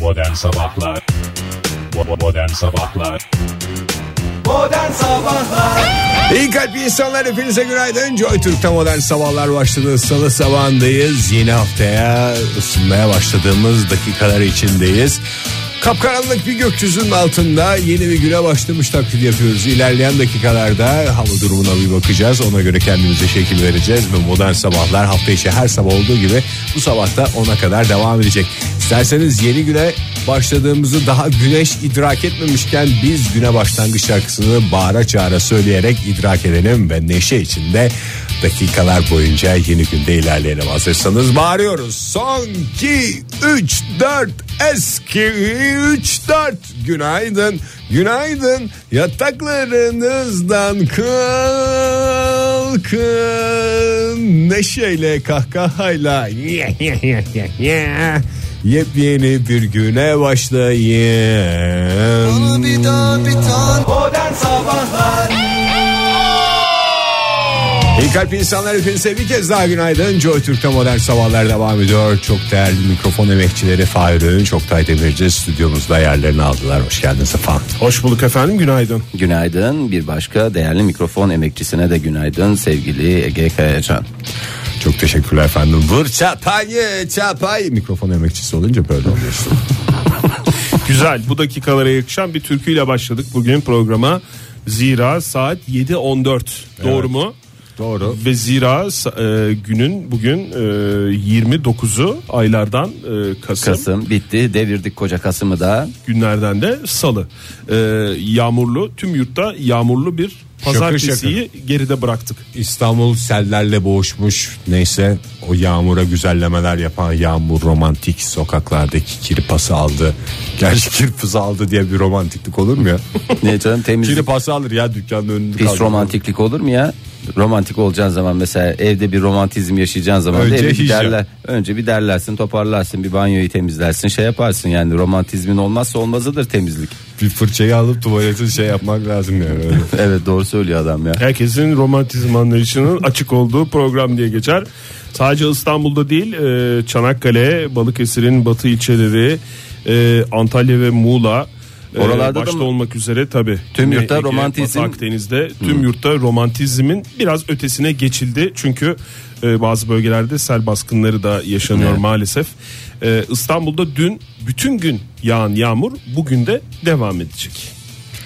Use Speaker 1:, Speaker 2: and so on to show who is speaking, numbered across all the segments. Speaker 1: Modern Sabahlar Bo- Modern Sabahlar
Speaker 2: İyi kalp insanlar hepinize günaydın. Joy Türk'te modern sabahlar başladı. Salı sabahındayız. Yeni haftaya ısınmaya başladığımız dakikalar içindeyiz. Kapkaranlık bir gökyüzünün altında yeni bir güne başlamış taklit yapıyoruz. İlerleyen dakikalarda hava durumuna bir bakacağız. Ona göre kendimize şekil vereceğiz ve modern sabahlar hafta içi her sabah olduğu gibi bu sabah da ona kadar devam edecek. İsterseniz yeni güne başladığımızı daha güneş idrak etmemişken biz güne başlangıç şarkısını bağıra çağıra söyleyerek idrak edelim ve neşe içinde dakikalar boyunca yeni günde ilerleyelim. Hazırsanız bağırıyoruz. Son 2, 3, 4, eski 3, 4. Günaydın, günaydın. Yataklarınızdan kalkın. Neşeyle, kahkahayla. Yepyeni bir güne başlayın. İyi kalp insanlar hepinize bir kez daha günaydın. Joy Türk'te modern sabahlar devam ediyor. Çok değerli mikrofon emekçileri Fahir Öğünç, Oktay Demirci stüdyomuzda yerlerini aldılar. Hoş geldiniz efendim.
Speaker 3: Hoş bulduk efendim günaydın.
Speaker 4: Günaydın bir başka değerli mikrofon emekçisine de günaydın sevgili Ege Kayacan.
Speaker 2: Çok teşekkürler efendim. Vır çapayı çapayı. Mikrofon emekçisi olunca böyle oluyorsun.
Speaker 3: Güzel bu dakikalara yakışan bir türküyle başladık bugün programa. Zira saat 7.14 doğru mu?
Speaker 2: Doğru.
Speaker 3: Ve zira sa- e, günün bugün e, 29'u aylardan e, Kasım.
Speaker 4: Kasım bitti devirdik koca Kasım'ı da.
Speaker 3: günlerden de salı. E, yağmurlu tüm yurtta yağmurlu bir pazartesiyi geride bıraktık.
Speaker 2: İstanbul sellerle boğuşmuş. Neyse o yağmura güzellemeler yapan yağmur romantik sokaklardaki kirpası aldı. Gerçi kirpası aldı diye bir romantiklik olur mu ya?
Speaker 4: Ne canım temizlik
Speaker 2: kirpası alır ya dükkanın önünde.
Speaker 4: pis
Speaker 2: kaldırır.
Speaker 4: romantiklik olur mu ya? Romantik olacağın zaman mesela evde bir romantizm yaşayacağın zaman da
Speaker 2: Önce
Speaker 4: evi bir
Speaker 2: hijyen.
Speaker 4: derler, önce bir derlersin toparlarsın bir banyoyu temizlersin şey yaparsın yani romantizmin olmazsa olmazıdır temizlik.
Speaker 2: bir fırçayı alıp tuvaletin şey yapmak lazım yani. Öyle.
Speaker 4: Evet doğru söylüyor adam ya.
Speaker 3: Herkesin romantizm anlayışının açık olduğu program diye geçer. Sadece İstanbul'da değil e, Çanakkale, Balıkesir'in batı ilçeleri, e, Antalya ve Muğla e,
Speaker 4: Oralarda da
Speaker 3: başta
Speaker 4: mı?
Speaker 3: olmak üzere tabi.
Speaker 4: Tüm yurtta romantizm- Hmm.
Speaker 3: Akdeniz'de tüm yurtta romantizmin biraz ötesine geçildi. Çünkü e, bazı bölgelerde sel baskınları da yaşanıyor
Speaker 4: Evet.
Speaker 3: maalesef. E, İstanbul'da dün bütün gün yağan yağmur bugün de devam edecek.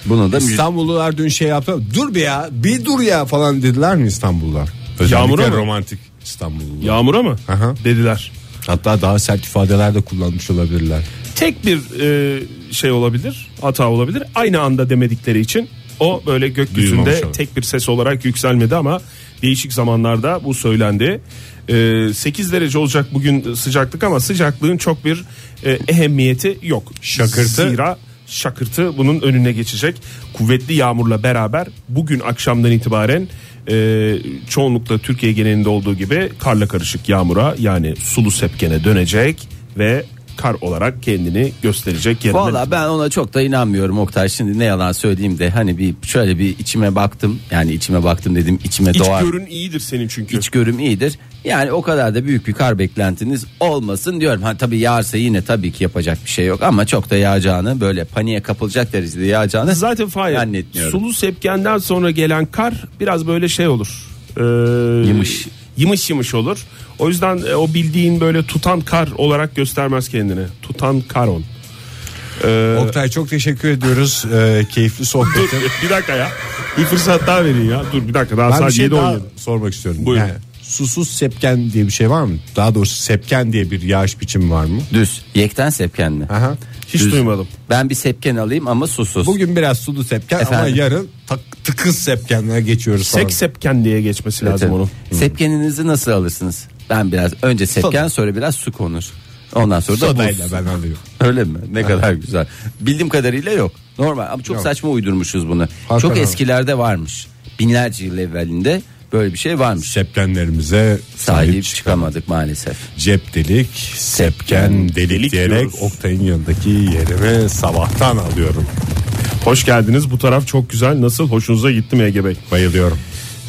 Speaker 4: Bunu da müj-
Speaker 2: İstanbullular dün şey yaptı. Dur bir ya bir dur ya falan dediler mi İstanbullular? Özellikle
Speaker 3: Yağmura mı?
Speaker 2: romantik İstanbullular.
Speaker 3: Yağmura mı?
Speaker 2: Aha.
Speaker 3: Dediler.
Speaker 2: Hatta daha sert ifadeler de kullanmış olabilirler.
Speaker 3: Tek bir e, şey olabilir, hata olabilir. Aynı anda demedikleri için o böyle
Speaker 2: Duyulmamış
Speaker 3: gökyüzünde
Speaker 2: olur.
Speaker 3: tek bir ses olarak yükselmedi ama değişik zamanlarda bu söylendi. E, 8 derece olacak bugün sıcaklık ama sıcaklığın çok bir e, ehemmiyeti yok.
Speaker 2: Şakırtı.
Speaker 3: Zira şakırtı bunun önüne geçecek. Kuvvetli yağmurla beraber bugün akşamdan itibaren e, çoğunlukla Türkiye genelinde olduğu gibi karla karışık yağmura yani sulu sepkene dönecek ve kar olarak kendini gösterecek yerine.
Speaker 4: Valla ben ona çok da inanmıyorum Oktay. Şimdi ne yalan söyleyeyim de hani bir şöyle bir içime baktım. Yani içime baktım dedim içime
Speaker 3: İç
Speaker 4: doğar.
Speaker 3: görün iyidir senin çünkü.
Speaker 4: İç görüm iyidir. Yani o kadar da büyük bir kar beklentiniz olmasın diyorum. Ha tabii yağarsa yine tabii ki yapacak bir şey yok ama çok da yağacağını böyle paniğe kapılacak derecede yağacağını
Speaker 3: Zaten Fahir
Speaker 4: zannetmiyorum.
Speaker 3: sulu sepkenden sonra gelen kar biraz böyle şey olur. Ee,
Speaker 4: Yımış.
Speaker 3: Yımış yımış olur. O yüzden e, o bildiğin böyle tutan kar olarak göstermez kendini. Tutan karon. Ee,
Speaker 2: Oktay çok teşekkür ediyoruz. Ee, keyifli sohbet.
Speaker 3: dur bir dakika ya. Bir fırsat daha verin ya. Dur bir dakika daha
Speaker 2: Ben bir
Speaker 3: saat
Speaker 2: şey
Speaker 3: 7
Speaker 2: daha sormak istiyorum.
Speaker 3: Buyurun.
Speaker 2: susuz sepken diye bir şey var mı? Daha doğrusu sepken diye bir yağış biçimi var mı?
Speaker 4: Düz. Yekten sepken mi?
Speaker 2: Aha.
Speaker 3: Hiç
Speaker 4: Düz.
Speaker 3: duymadım.
Speaker 4: Ben bir sepken alayım ama susuz.
Speaker 2: Bugün biraz sulu sepken ama
Speaker 4: Efendim?
Speaker 2: yarın tak, tıkız sepkenlere geçiyoruz. falan.
Speaker 3: Sek sepken diye geçmesi
Speaker 4: Evet,
Speaker 3: lazım
Speaker 4: evet.
Speaker 3: onun.
Speaker 4: Sepkeninizi nasıl alırsınız? Ben biraz önce sepken sonra biraz su konur. Ondan sonra da buz.
Speaker 2: Sodayla ben alıyorum.
Speaker 4: Öyle mi? Ne kadar güzel. Bildiğim kadarıyla yok. Normal ama çok
Speaker 2: Yok.
Speaker 4: saçma uydurmuşuz bunu.
Speaker 2: Hakikaten
Speaker 4: çok
Speaker 2: abi.
Speaker 4: eskilerde varmış. Binlerce yıl evvelinde böyle bir şey varmış.
Speaker 2: Sepkenlerimize
Speaker 4: Sahip
Speaker 2: sahip çık.
Speaker 4: çıkamadık maalesef.
Speaker 2: Cep delik, sepken delik,
Speaker 3: Delik
Speaker 2: diyerek
Speaker 3: diyoruz.
Speaker 2: Oktay'ın yanındaki yerimi sabahtan alıyorum.
Speaker 3: Hoş geldiniz. Bu taraf çok güzel. Nasıl? Hoşunuza gitti mi Ege Bey?
Speaker 2: Bayılıyorum.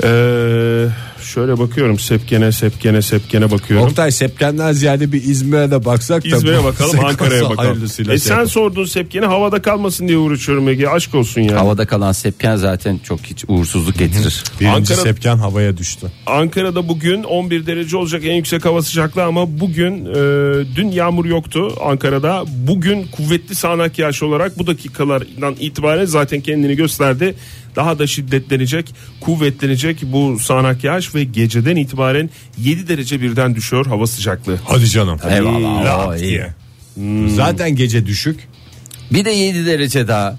Speaker 3: Ee, Şöyle bakıyorum sepkene sepkene sepkene bakıyorum.
Speaker 2: Oktay Sepken'den ziyade bir İzmir'e de baksak da.
Speaker 3: İzmir'e
Speaker 2: bu
Speaker 3: bakalım
Speaker 2: sekansa
Speaker 3: Ankara'ya bakalım. E
Speaker 2: hayırlısıyla
Speaker 3: sen
Speaker 2: şey yapalım.
Speaker 3: sordun sepkeni havada kalmasın diye uğraşıyorum Ege aşk olsun ya.
Speaker 4: Havada kalan sepken zaten çok hiç uğursuzluk getirir.
Speaker 2: Birinci
Speaker 3: Ankara-
Speaker 2: Sepken havaya düştü.
Speaker 3: Ankara'da bugün 11 derece olacak en yüksek hava sıcaklığı ama bugün e, dün yağmur yoktu Ankara'da. Bugün kuvvetli sağanak yağış olarak bu dakikalardan itibaren zaten kendini gösterdi. Daha da şiddetlenecek, kuvvetlenecek bu sağanak yağış ve geceden itibaren 7 derece birden düşüyor hava sıcaklığı.
Speaker 2: Hadi canım.
Speaker 4: Eyvallah.
Speaker 2: Rahat
Speaker 4: Oo, iyi. Hmm.
Speaker 2: diye. Zaten gece düşük.
Speaker 4: Bir de 7 derece daha.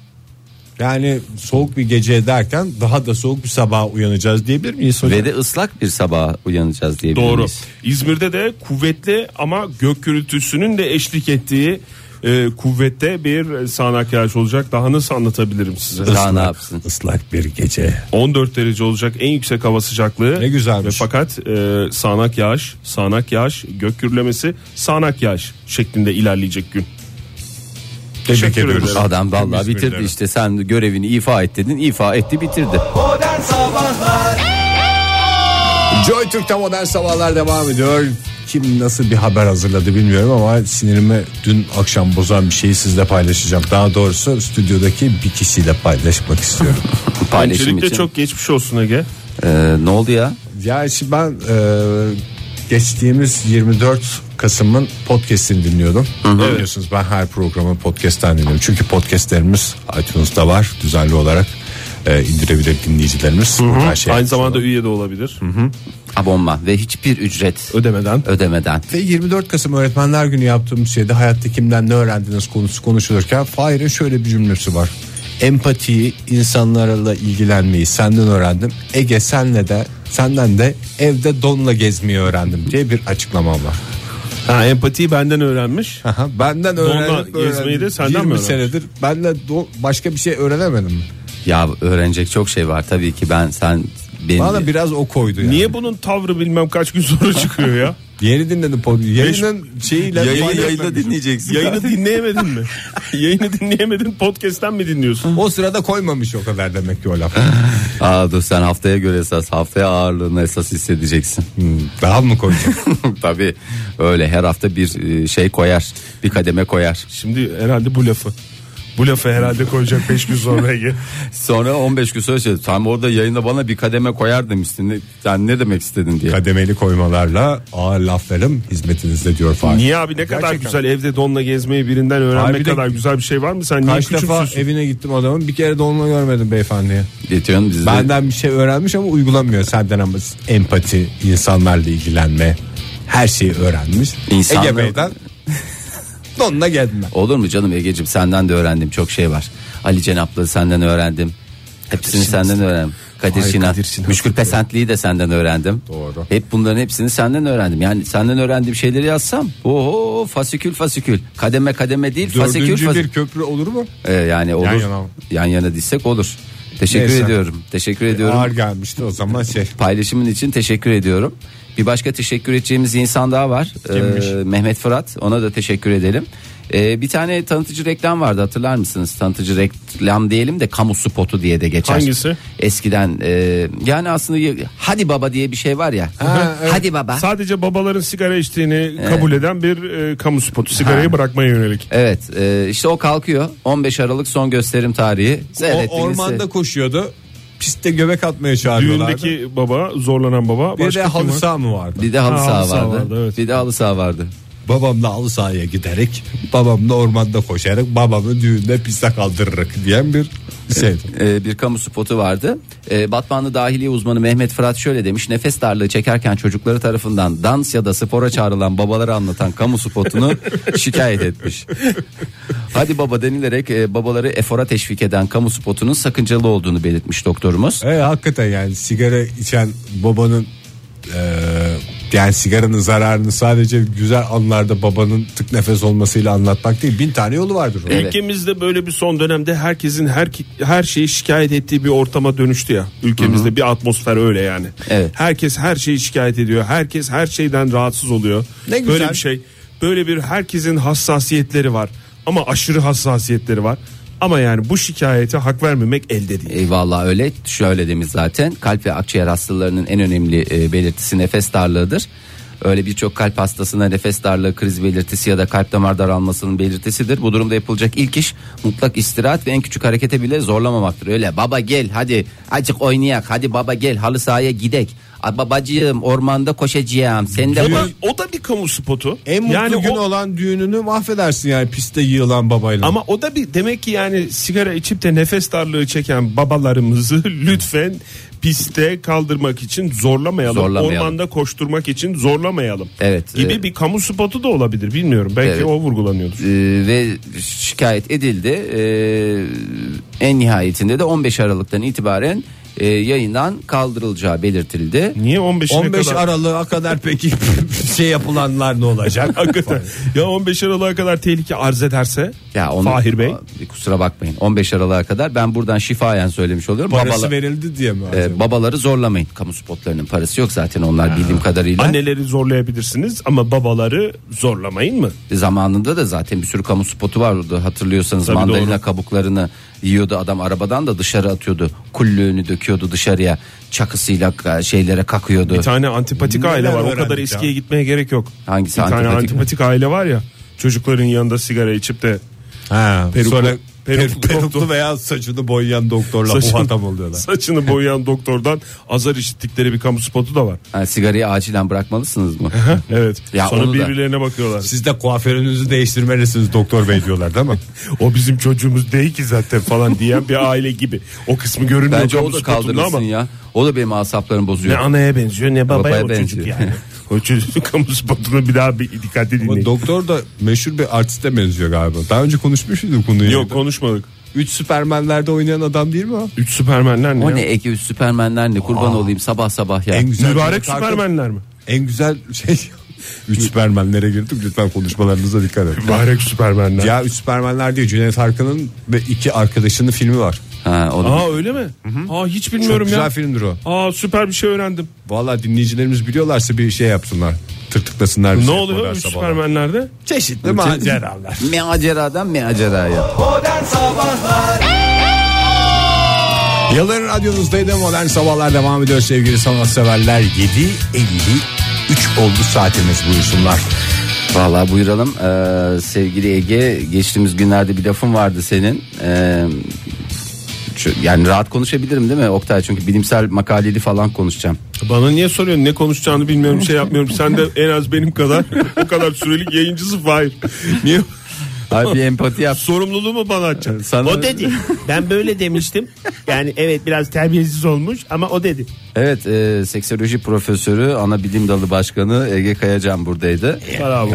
Speaker 2: Yani soğuk bir gece derken daha da soğuk bir sabah uyanacağız diyebilir miyiz hocam?
Speaker 4: Ve de ıslak bir sabah uyanacağız diye
Speaker 3: Doğru. İzmir'de de kuvvetli ama gök gürültüsünün de eşlik ettiği e, kuvvette bir sağanak yağış olacak. Daha nasıl anlatabilirim size?
Speaker 4: Daha ne yapsın?
Speaker 2: Islak bir gece.
Speaker 3: 14 derece olacak en yüksek hava sıcaklığı.
Speaker 2: Ne güzelmiş.
Speaker 3: Ve fakat e, sağanak yağış, sağanak yağış, gök gürlemesi, sağanak yağış şeklinde ilerleyecek gün.
Speaker 2: Tebrik
Speaker 3: Teşekkür
Speaker 2: ediyoruz.
Speaker 3: ederim.
Speaker 4: Adam vallahi
Speaker 2: İzmir'de.
Speaker 4: bitirdi işte sen görevini ifa et dedin ifa etti bitirdi.
Speaker 2: Joy Türk'te modern sabahlar devam ediyor. Kim nasıl bir haber hazırladı bilmiyorum ama sinirimi dün akşam bozan bir şeyi sizle paylaşacağım. Daha doğrusu stüdyodaki bir kişiyle paylaşmak istiyorum.
Speaker 4: Paylaşım
Speaker 3: Öncelikle
Speaker 4: için.
Speaker 3: çok geçmiş olsun Ege.
Speaker 4: Ee, ne oldu ya?
Speaker 2: ya şimdi ben e, geçtiğimiz 24 Kasım'ın podcast'ini dinliyordum. Biliyorsunuz ben her programı podcast'ten dinliyorum. Çünkü podcast'lerimiz iTunes'da var düzenli olarak. E, indirebilir dinleyicilerimiz. Her şey-
Speaker 3: Aynı zamanda üye de olabilir.
Speaker 4: Abonman ve hiçbir ücret
Speaker 3: Ödemeden.
Speaker 4: ödemeden.
Speaker 2: Ve 24 Kasım Öğretmenler Günü yaptığımız şeyde hayatta kimden ne öğrendiniz konusu konuşulurken Fahir'in şöyle bir cümlesi var. Empatiyi, insanlarla ilgilenmeyi senden öğrendim. Ege senle de senden de evde donla gezmeyi öğrendim diye bir açıklama var.
Speaker 3: Ha, empatiyi benden öğrenmiş.
Speaker 2: Aha, benden öğrenip
Speaker 3: gezmeyi
Speaker 2: öğrendim.
Speaker 3: de senden mi
Speaker 2: 20
Speaker 3: öğrenmiş?
Speaker 2: senedir benle do- başka bir şey öğrenemedim. mi?
Speaker 4: Ya öğrenecek çok şey var tabii ki ben sen benim
Speaker 2: Bana biraz o koydu yani.
Speaker 3: Niye bunun tavrı bilmem kaç gün sonra çıkıyor ya?
Speaker 2: Yeni dinledim pod. Yayının şeyiyle
Speaker 4: yayını yayında dinleyeceksin.
Speaker 3: Yayını dinleyemedin mi? Yayını dinleyemedin podcast'ten mi dinliyorsun?
Speaker 2: o sırada koymamış o kadar demek ki o laf.
Speaker 4: Aa dur sen haftaya göre esas haftaya ağırlığını esas hissedeceksin.
Speaker 2: Hmm, Daha mı koyacak?
Speaker 4: Tabii öyle her hafta bir e, şey koyar bir kademe koyar.
Speaker 3: Şimdi herhalde bu lafı. Bu lafı herhalde koyacak 5 gün sonra Ege.
Speaker 4: Sonra 15 gün sonra şey tam orada yayında bana bir kademe koyar demiştin. Ne- Sen ne demek istedin diye.
Speaker 2: kademeli koymalarla ağır laflarım hizmetinizde diyor Fahir.
Speaker 3: Niye abi ne kadar
Speaker 2: Gerçekten.
Speaker 3: güzel evde donla gezmeyi birinden
Speaker 2: Abi
Speaker 3: öğrenmek
Speaker 2: bir de-
Speaker 3: kadar güzel bir şey var mı? Sen niye
Speaker 2: Kaç defa
Speaker 3: küçümsüyorsun?
Speaker 2: evine gittim adamın bir kere de onunla görmedim beyefendiye.
Speaker 4: Yetiyorsun bizde.
Speaker 2: Benden bir şey öğrenmiş ama uygulamıyor senden ama empati, insanlarla ilgilenme her şeyi öğrenmiş.
Speaker 4: İnsanlar-
Speaker 2: Ege Bey'den donla geldim ben.
Speaker 4: Olur mu canım Ege'cim senden de öğrendim çok şey var. Ali Cenaplı senden öğrendim. Hepsini senden öğrendim. Kadir
Speaker 2: Ay,
Speaker 4: Sinan,
Speaker 2: Kadir Sinan.
Speaker 4: Müşkül Pesentli'yi de senden öğrendim.
Speaker 2: Doğru.
Speaker 4: Hep bunların hepsini senden öğrendim. Yani senden öğrendiğim şeyleri yazsam. Oho fasikül fasikül. Kademe kademe değil fasikül
Speaker 2: Dördüncü
Speaker 4: fasikül.
Speaker 2: bir köprü olur mu?
Speaker 4: Ee, yani olur. Yan
Speaker 2: yana.
Speaker 4: yana. dizsek olur. Teşekkür
Speaker 2: Neyse.
Speaker 4: ediyorum. Teşekkür ediyorum.
Speaker 3: Ee,
Speaker 2: Ağır gelmişti o zaman şey.
Speaker 4: Paylaşımın için teşekkür ediyorum. Bir başka teşekkür edeceğimiz insan daha var. Ee, Mehmet Fırat. Ona da teşekkür edelim. Ee, bir tane tanıtıcı reklam vardı hatırlar mısınız? Tanıtıcı reklam diyelim de kamu spotu diye de geçer.
Speaker 3: Hangisi?
Speaker 4: Eskiden e, yani aslında y- hadi baba diye bir şey var ya. Hadi baba.
Speaker 3: Sadece babaların sigara içtiğini
Speaker 2: Ee.
Speaker 3: kabul eden bir e, kamu spotu. Sigarayı bırakmaya yönelik.
Speaker 4: Evet e, işte o kalkıyor. 15 Aralık son gösterim tarihi.
Speaker 2: O
Speaker 4: Seyrettiğiniz-
Speaker 2: ormanda koşuyordu. Pistte göbek atmaya çağırıyorlardı.
Speaker 3: Düğündeki baba, zorlanan baba.
Speaker 2: bir
Speaker 3: Başka
Speaker 2: de
Speaker 3: kim
Speaker 2: halı
Speaker 3: var?
Speaker 2: saha mı vardı?
Speaker 4: Bir de halı
Speaker 3: Ha,
Speaker 4: saha
Speaker 3: halı saha
Speaker 4: vardı.
Speaker 3: vardı, evet.
Speaker 4: Bir de halı saha vardı.
Speaker 2: babamla halı sahaya giderek babamla ormanda koşarak babamı düğünde piste kaldırarak diyen bir şey. şeydi.
Speaker 4: e, bir kamu spotu vardı. E, Batmanlı dahiliye uzmanı Mehmet Fırat şöyle demiş. Nefes darlığı çekerken çocukları tarafından dans ya da spora çağrılan babaları anlatan kamu spotunu şikayet etmiş. Hadi baba denilerek e, babaları efora teşvik eden kamu spotunun sakıncalı olduğunu belirtmiş doktorumuz.
Speaker 2: E, hakikaten yani sigara içen babanın e, yani sigaranın zararını sadece güzel anlarda babanın tık nefes olmasıyla anlatmak değil bin tane yolu vardır. onun.
Speaker 3: E,
Speaker 4: Evet.
Speaker 3: Ülkemizde böyle bir son dönemde herkesin her her şeyi şikayet ettiği bir ortama dönüştü ya. Ülkemizde bir atmosfer öyle yani.
Speaker 4: Evet.
Speaker 3: Herkes her şeyi şikayet ediyor. Herkes her şeyden rahatsız oluyor.
Speaker 2: Ne güzel.
Speaker 3: Böyle bir şey. Böyle bir herkesin hassasiyetleri var. Ama aşırı hassasiyetleri var. Ama yani bu şikayete hak vermemek elde değil.
Speaker 4: Eyvallah öyle şöyle demiş zaten kalp ve akciğer hastalarının en önemli e, belirtisi nefes darlığıdır. Öyle birçok kalp hastasına nefes darlığı kriz belirtisi ya da kalp damar daralmasının belirtisidir. Bu durumda yapılacak ilk iş mutlak istirahat ve en küçük harekete bile zorlamamaktır. Öyle baba gel hadi acık oynayak hadi baba gel halı sahaya gidek. "A, Babacığım ormanda koşacağım sen de
Speaker 3: Ama
Speaker 4: koş."
Speaker 3: o da bir kamu spotu.
Speaker 2: E, En mutlu
Speaker 3: yani
Speaker 2: gün
Speaker 3: o,
Speaker 2: olan düğününü mahvedersin yani piste yığılan babayla.
Speaker 3: ama o da bir demek ki yani sigara içip de nefes darlığı çeken babalarımızı lütfen piste kaldırmak için zorlamayalım.
Speaker 4: Zorlamayalım.
Speaker 3: Ormanda koşturmak için zorlamayalım.
Speaker 4: Evet,
Speaker 3: Gibi
Speaker 4: evet.
Speaker 3: bir kamu spotu da olabilir bilmiyorum. Belki
Speaker 4: Evet.
Speaker 3: o vurgulanıyordur.
Speaker 4: Ee, ve şikayet edildi. Ee, en nihayetinde de 15 Aralık'tan itibaren e, yayından kaldırılacağı belirtildi.
Speaker 3: Niye 15'ine
Speaker 2: 15
Speaker 3: kadar?
Speaker 2: Aralık'a kadar peki şey yapılanlar ne olacak?
Speaker 3: Hakikaten. ya 15 Aralık'a kadar tehlike arz ederse
Speaker 4: Ya onu-
Speaker 3: Fahir Bey
Speaker 4: Aa, Kusura bakmayın. 15 Aralık'a kadar ben buradan şifayen söylemiş oluyorum.
Speaker 2: Parası
Speaker 4: Babala-
Speaker 2: verildi diye mi? acaba?
Speaker 4: e, babaları zorlamayın. Kamu spotlarının parası yok zaten onlar bildiğim kadarıyla.
Speaker 3: anneleri zorlayabilirsiniz ama babaları zorlamayın mı?
Speaker 4: E, Zamanında da zaten bir sürü kamu spotu vardı hatırlıyorsanız
Speaker 3: Tabii
Speaker 4: mandalina
Speaker 3: doğru.
Speaker 4: kabuklarını yiyordu adam arabadan da dışarı atıyordu. Kullüğünü döküyordu dışarıya çakısıyla ka- şeylere kakıyordu.
Speaker 3: Bir tane antipatik
Speaker 2: Neler
Speaker 3: aile var. O
Speaker 2: öğrendik
Speaker 3: kadar
Speaker 2: ya?
Speaker 3: eskiye gitmeye gerek yok.
Speaker 4: Hangisi
Speaker 3: Bir tane
Speaker 4: antipatik mi?
Speaker 3: antipatik aile var ya. Çocukların yanında sigara içip de
Speaker 2: Ha,
Speaker 3: Peruklu-
Speaker 2: sonra
Speaker 3: peruklu
Speaker 2: peruklu,
Speaker 3: doktor.
Speaker 2: veya saçını boyayan doktorla
Speaker 3: Saçını-
Speaker 2: muhatap oluyorlar.
Speaker 3: saçını boyayan doktordan azar işittikleri bir kamu spotu da var.
Speaker 4: Yani sigarayı acilen bırakmalısınız mı?
Speaker 3: Evet.
Speaker 4: Ya
Speaker 3: Sonra
Speaker 4: onu da-
Speaker 3: birbirlerine bakıyorlar.
Speaker 2: Siz de kuaförünüzü değiştirmelisiniz doktor bey diyorlar değil mi?
Speaker 3: O bizim çocuğumuz değil ki zaten falan diyen bir aile gibi. O kısmı görünmüyor
Speaker 4: Bence
Speaker 3: kamu
Speaker 4: o da
Speaker 3: spotunda
Speaker 4: kaldırılsın
Speaker 3: ama.
Speaker 4: ya. O da benim asaplarımı bozuyor.
Speaker 3: Ne anaya benziyor ne babaya, o
Speaker 4: Babaya
Speaker 3: çocuk
Speaker 4: benziyor.
Speaker 3: yani. O çocuk kamu spotunu bir daha bir dikkatli
Speaker 2: Ama
Speaker 3: dinleyin.
Speaker 2: doktor da meşhur bir artiste benziyor galiba. Daha önce konuşmuş muyduk konuyu?
Speaker 3: Yok konuşmadık.
Speaker 2: 3 süpermenlerde oynayan adam değil mi o?
Speaker 3: Üç süpermenler ne?
Speaker 4: O
Speaker 3: ya?
Speaker 4: ne Ege üst süpermenler ne kurban olayım sabah sabah ya.
Speaker 2: En güzel
Speaker 3: Mübarek
Speaker 2: Tarkan-
Speaker 3: süpermenler mi?
Speaker 2: En güzel şey. 3 süpermenlere girdik lütfen konuşmalarınıza dikkat edin.
Speaker 3: Mübarek süpermenler.
Speaker 2: Ya 3 süpermenler diye Cüneyt Arkın'ın ve iki arkadaşının filmi var.
Speaker 4: Ha, o da-
Speaker 3: Aa öyle mi? Aa hiç bilmiyorum
Speaker 2: Çok güzel
Speaker 3: ya.
Speaker 2: filmdir o.
Speaker 3: Aa süper bir şey öğrendim.
Speaker 2: Valla dinleyicilerimiz biliyorlarsa bir şey yapsınlar. Tırtıklasınlar. bizi
Speaker 3: ne oluyor
Speaker 2: modern
Speaker 3: üç
Speaker 2: sabahlar.
Speaker 3: süpermenlerde?
Speaker 2: Çeşitli maceralar.
Speaker 4: Meaceradan meaceraya.
Speaker 2: Yılların radyonuzdaydı modern sabahlar devam ediyor sevgili sanatseverler. 7.53 oldu saatimiz buyursunlar.
Speaker 4: Vallahi buyuralım. Ee, sevgili Ege geçtiğimiz günlerde bir lafın vardı senin. Ee, şu- yani rahat konuşabilirim değil mi Oktay? Çünkü bilimsel makaleli falan konuşacağım.
Speaker 3: Bana niye soruyorsun ne konuşacağını bilmiyorum şey yapmıyorum. Sen de en az benim kadar o kadar sürelik yayıncısı Fahir. Niye?
Speaker 4: Abi bir empati yap.
Speaker 3: Sorumluluğu mu bana atacaksın?
Speaker 4: Sana- O dedi.
Speaker 3: Ben böyle demiştim. Yani evet biraz terbiyesiz olmuş ama o dedi.
Speaker 4: Evet e, seksoloji profesörü ana bilim dalı başkanı Ege Kayacan buradaydı.
Speaker 3: Bravo.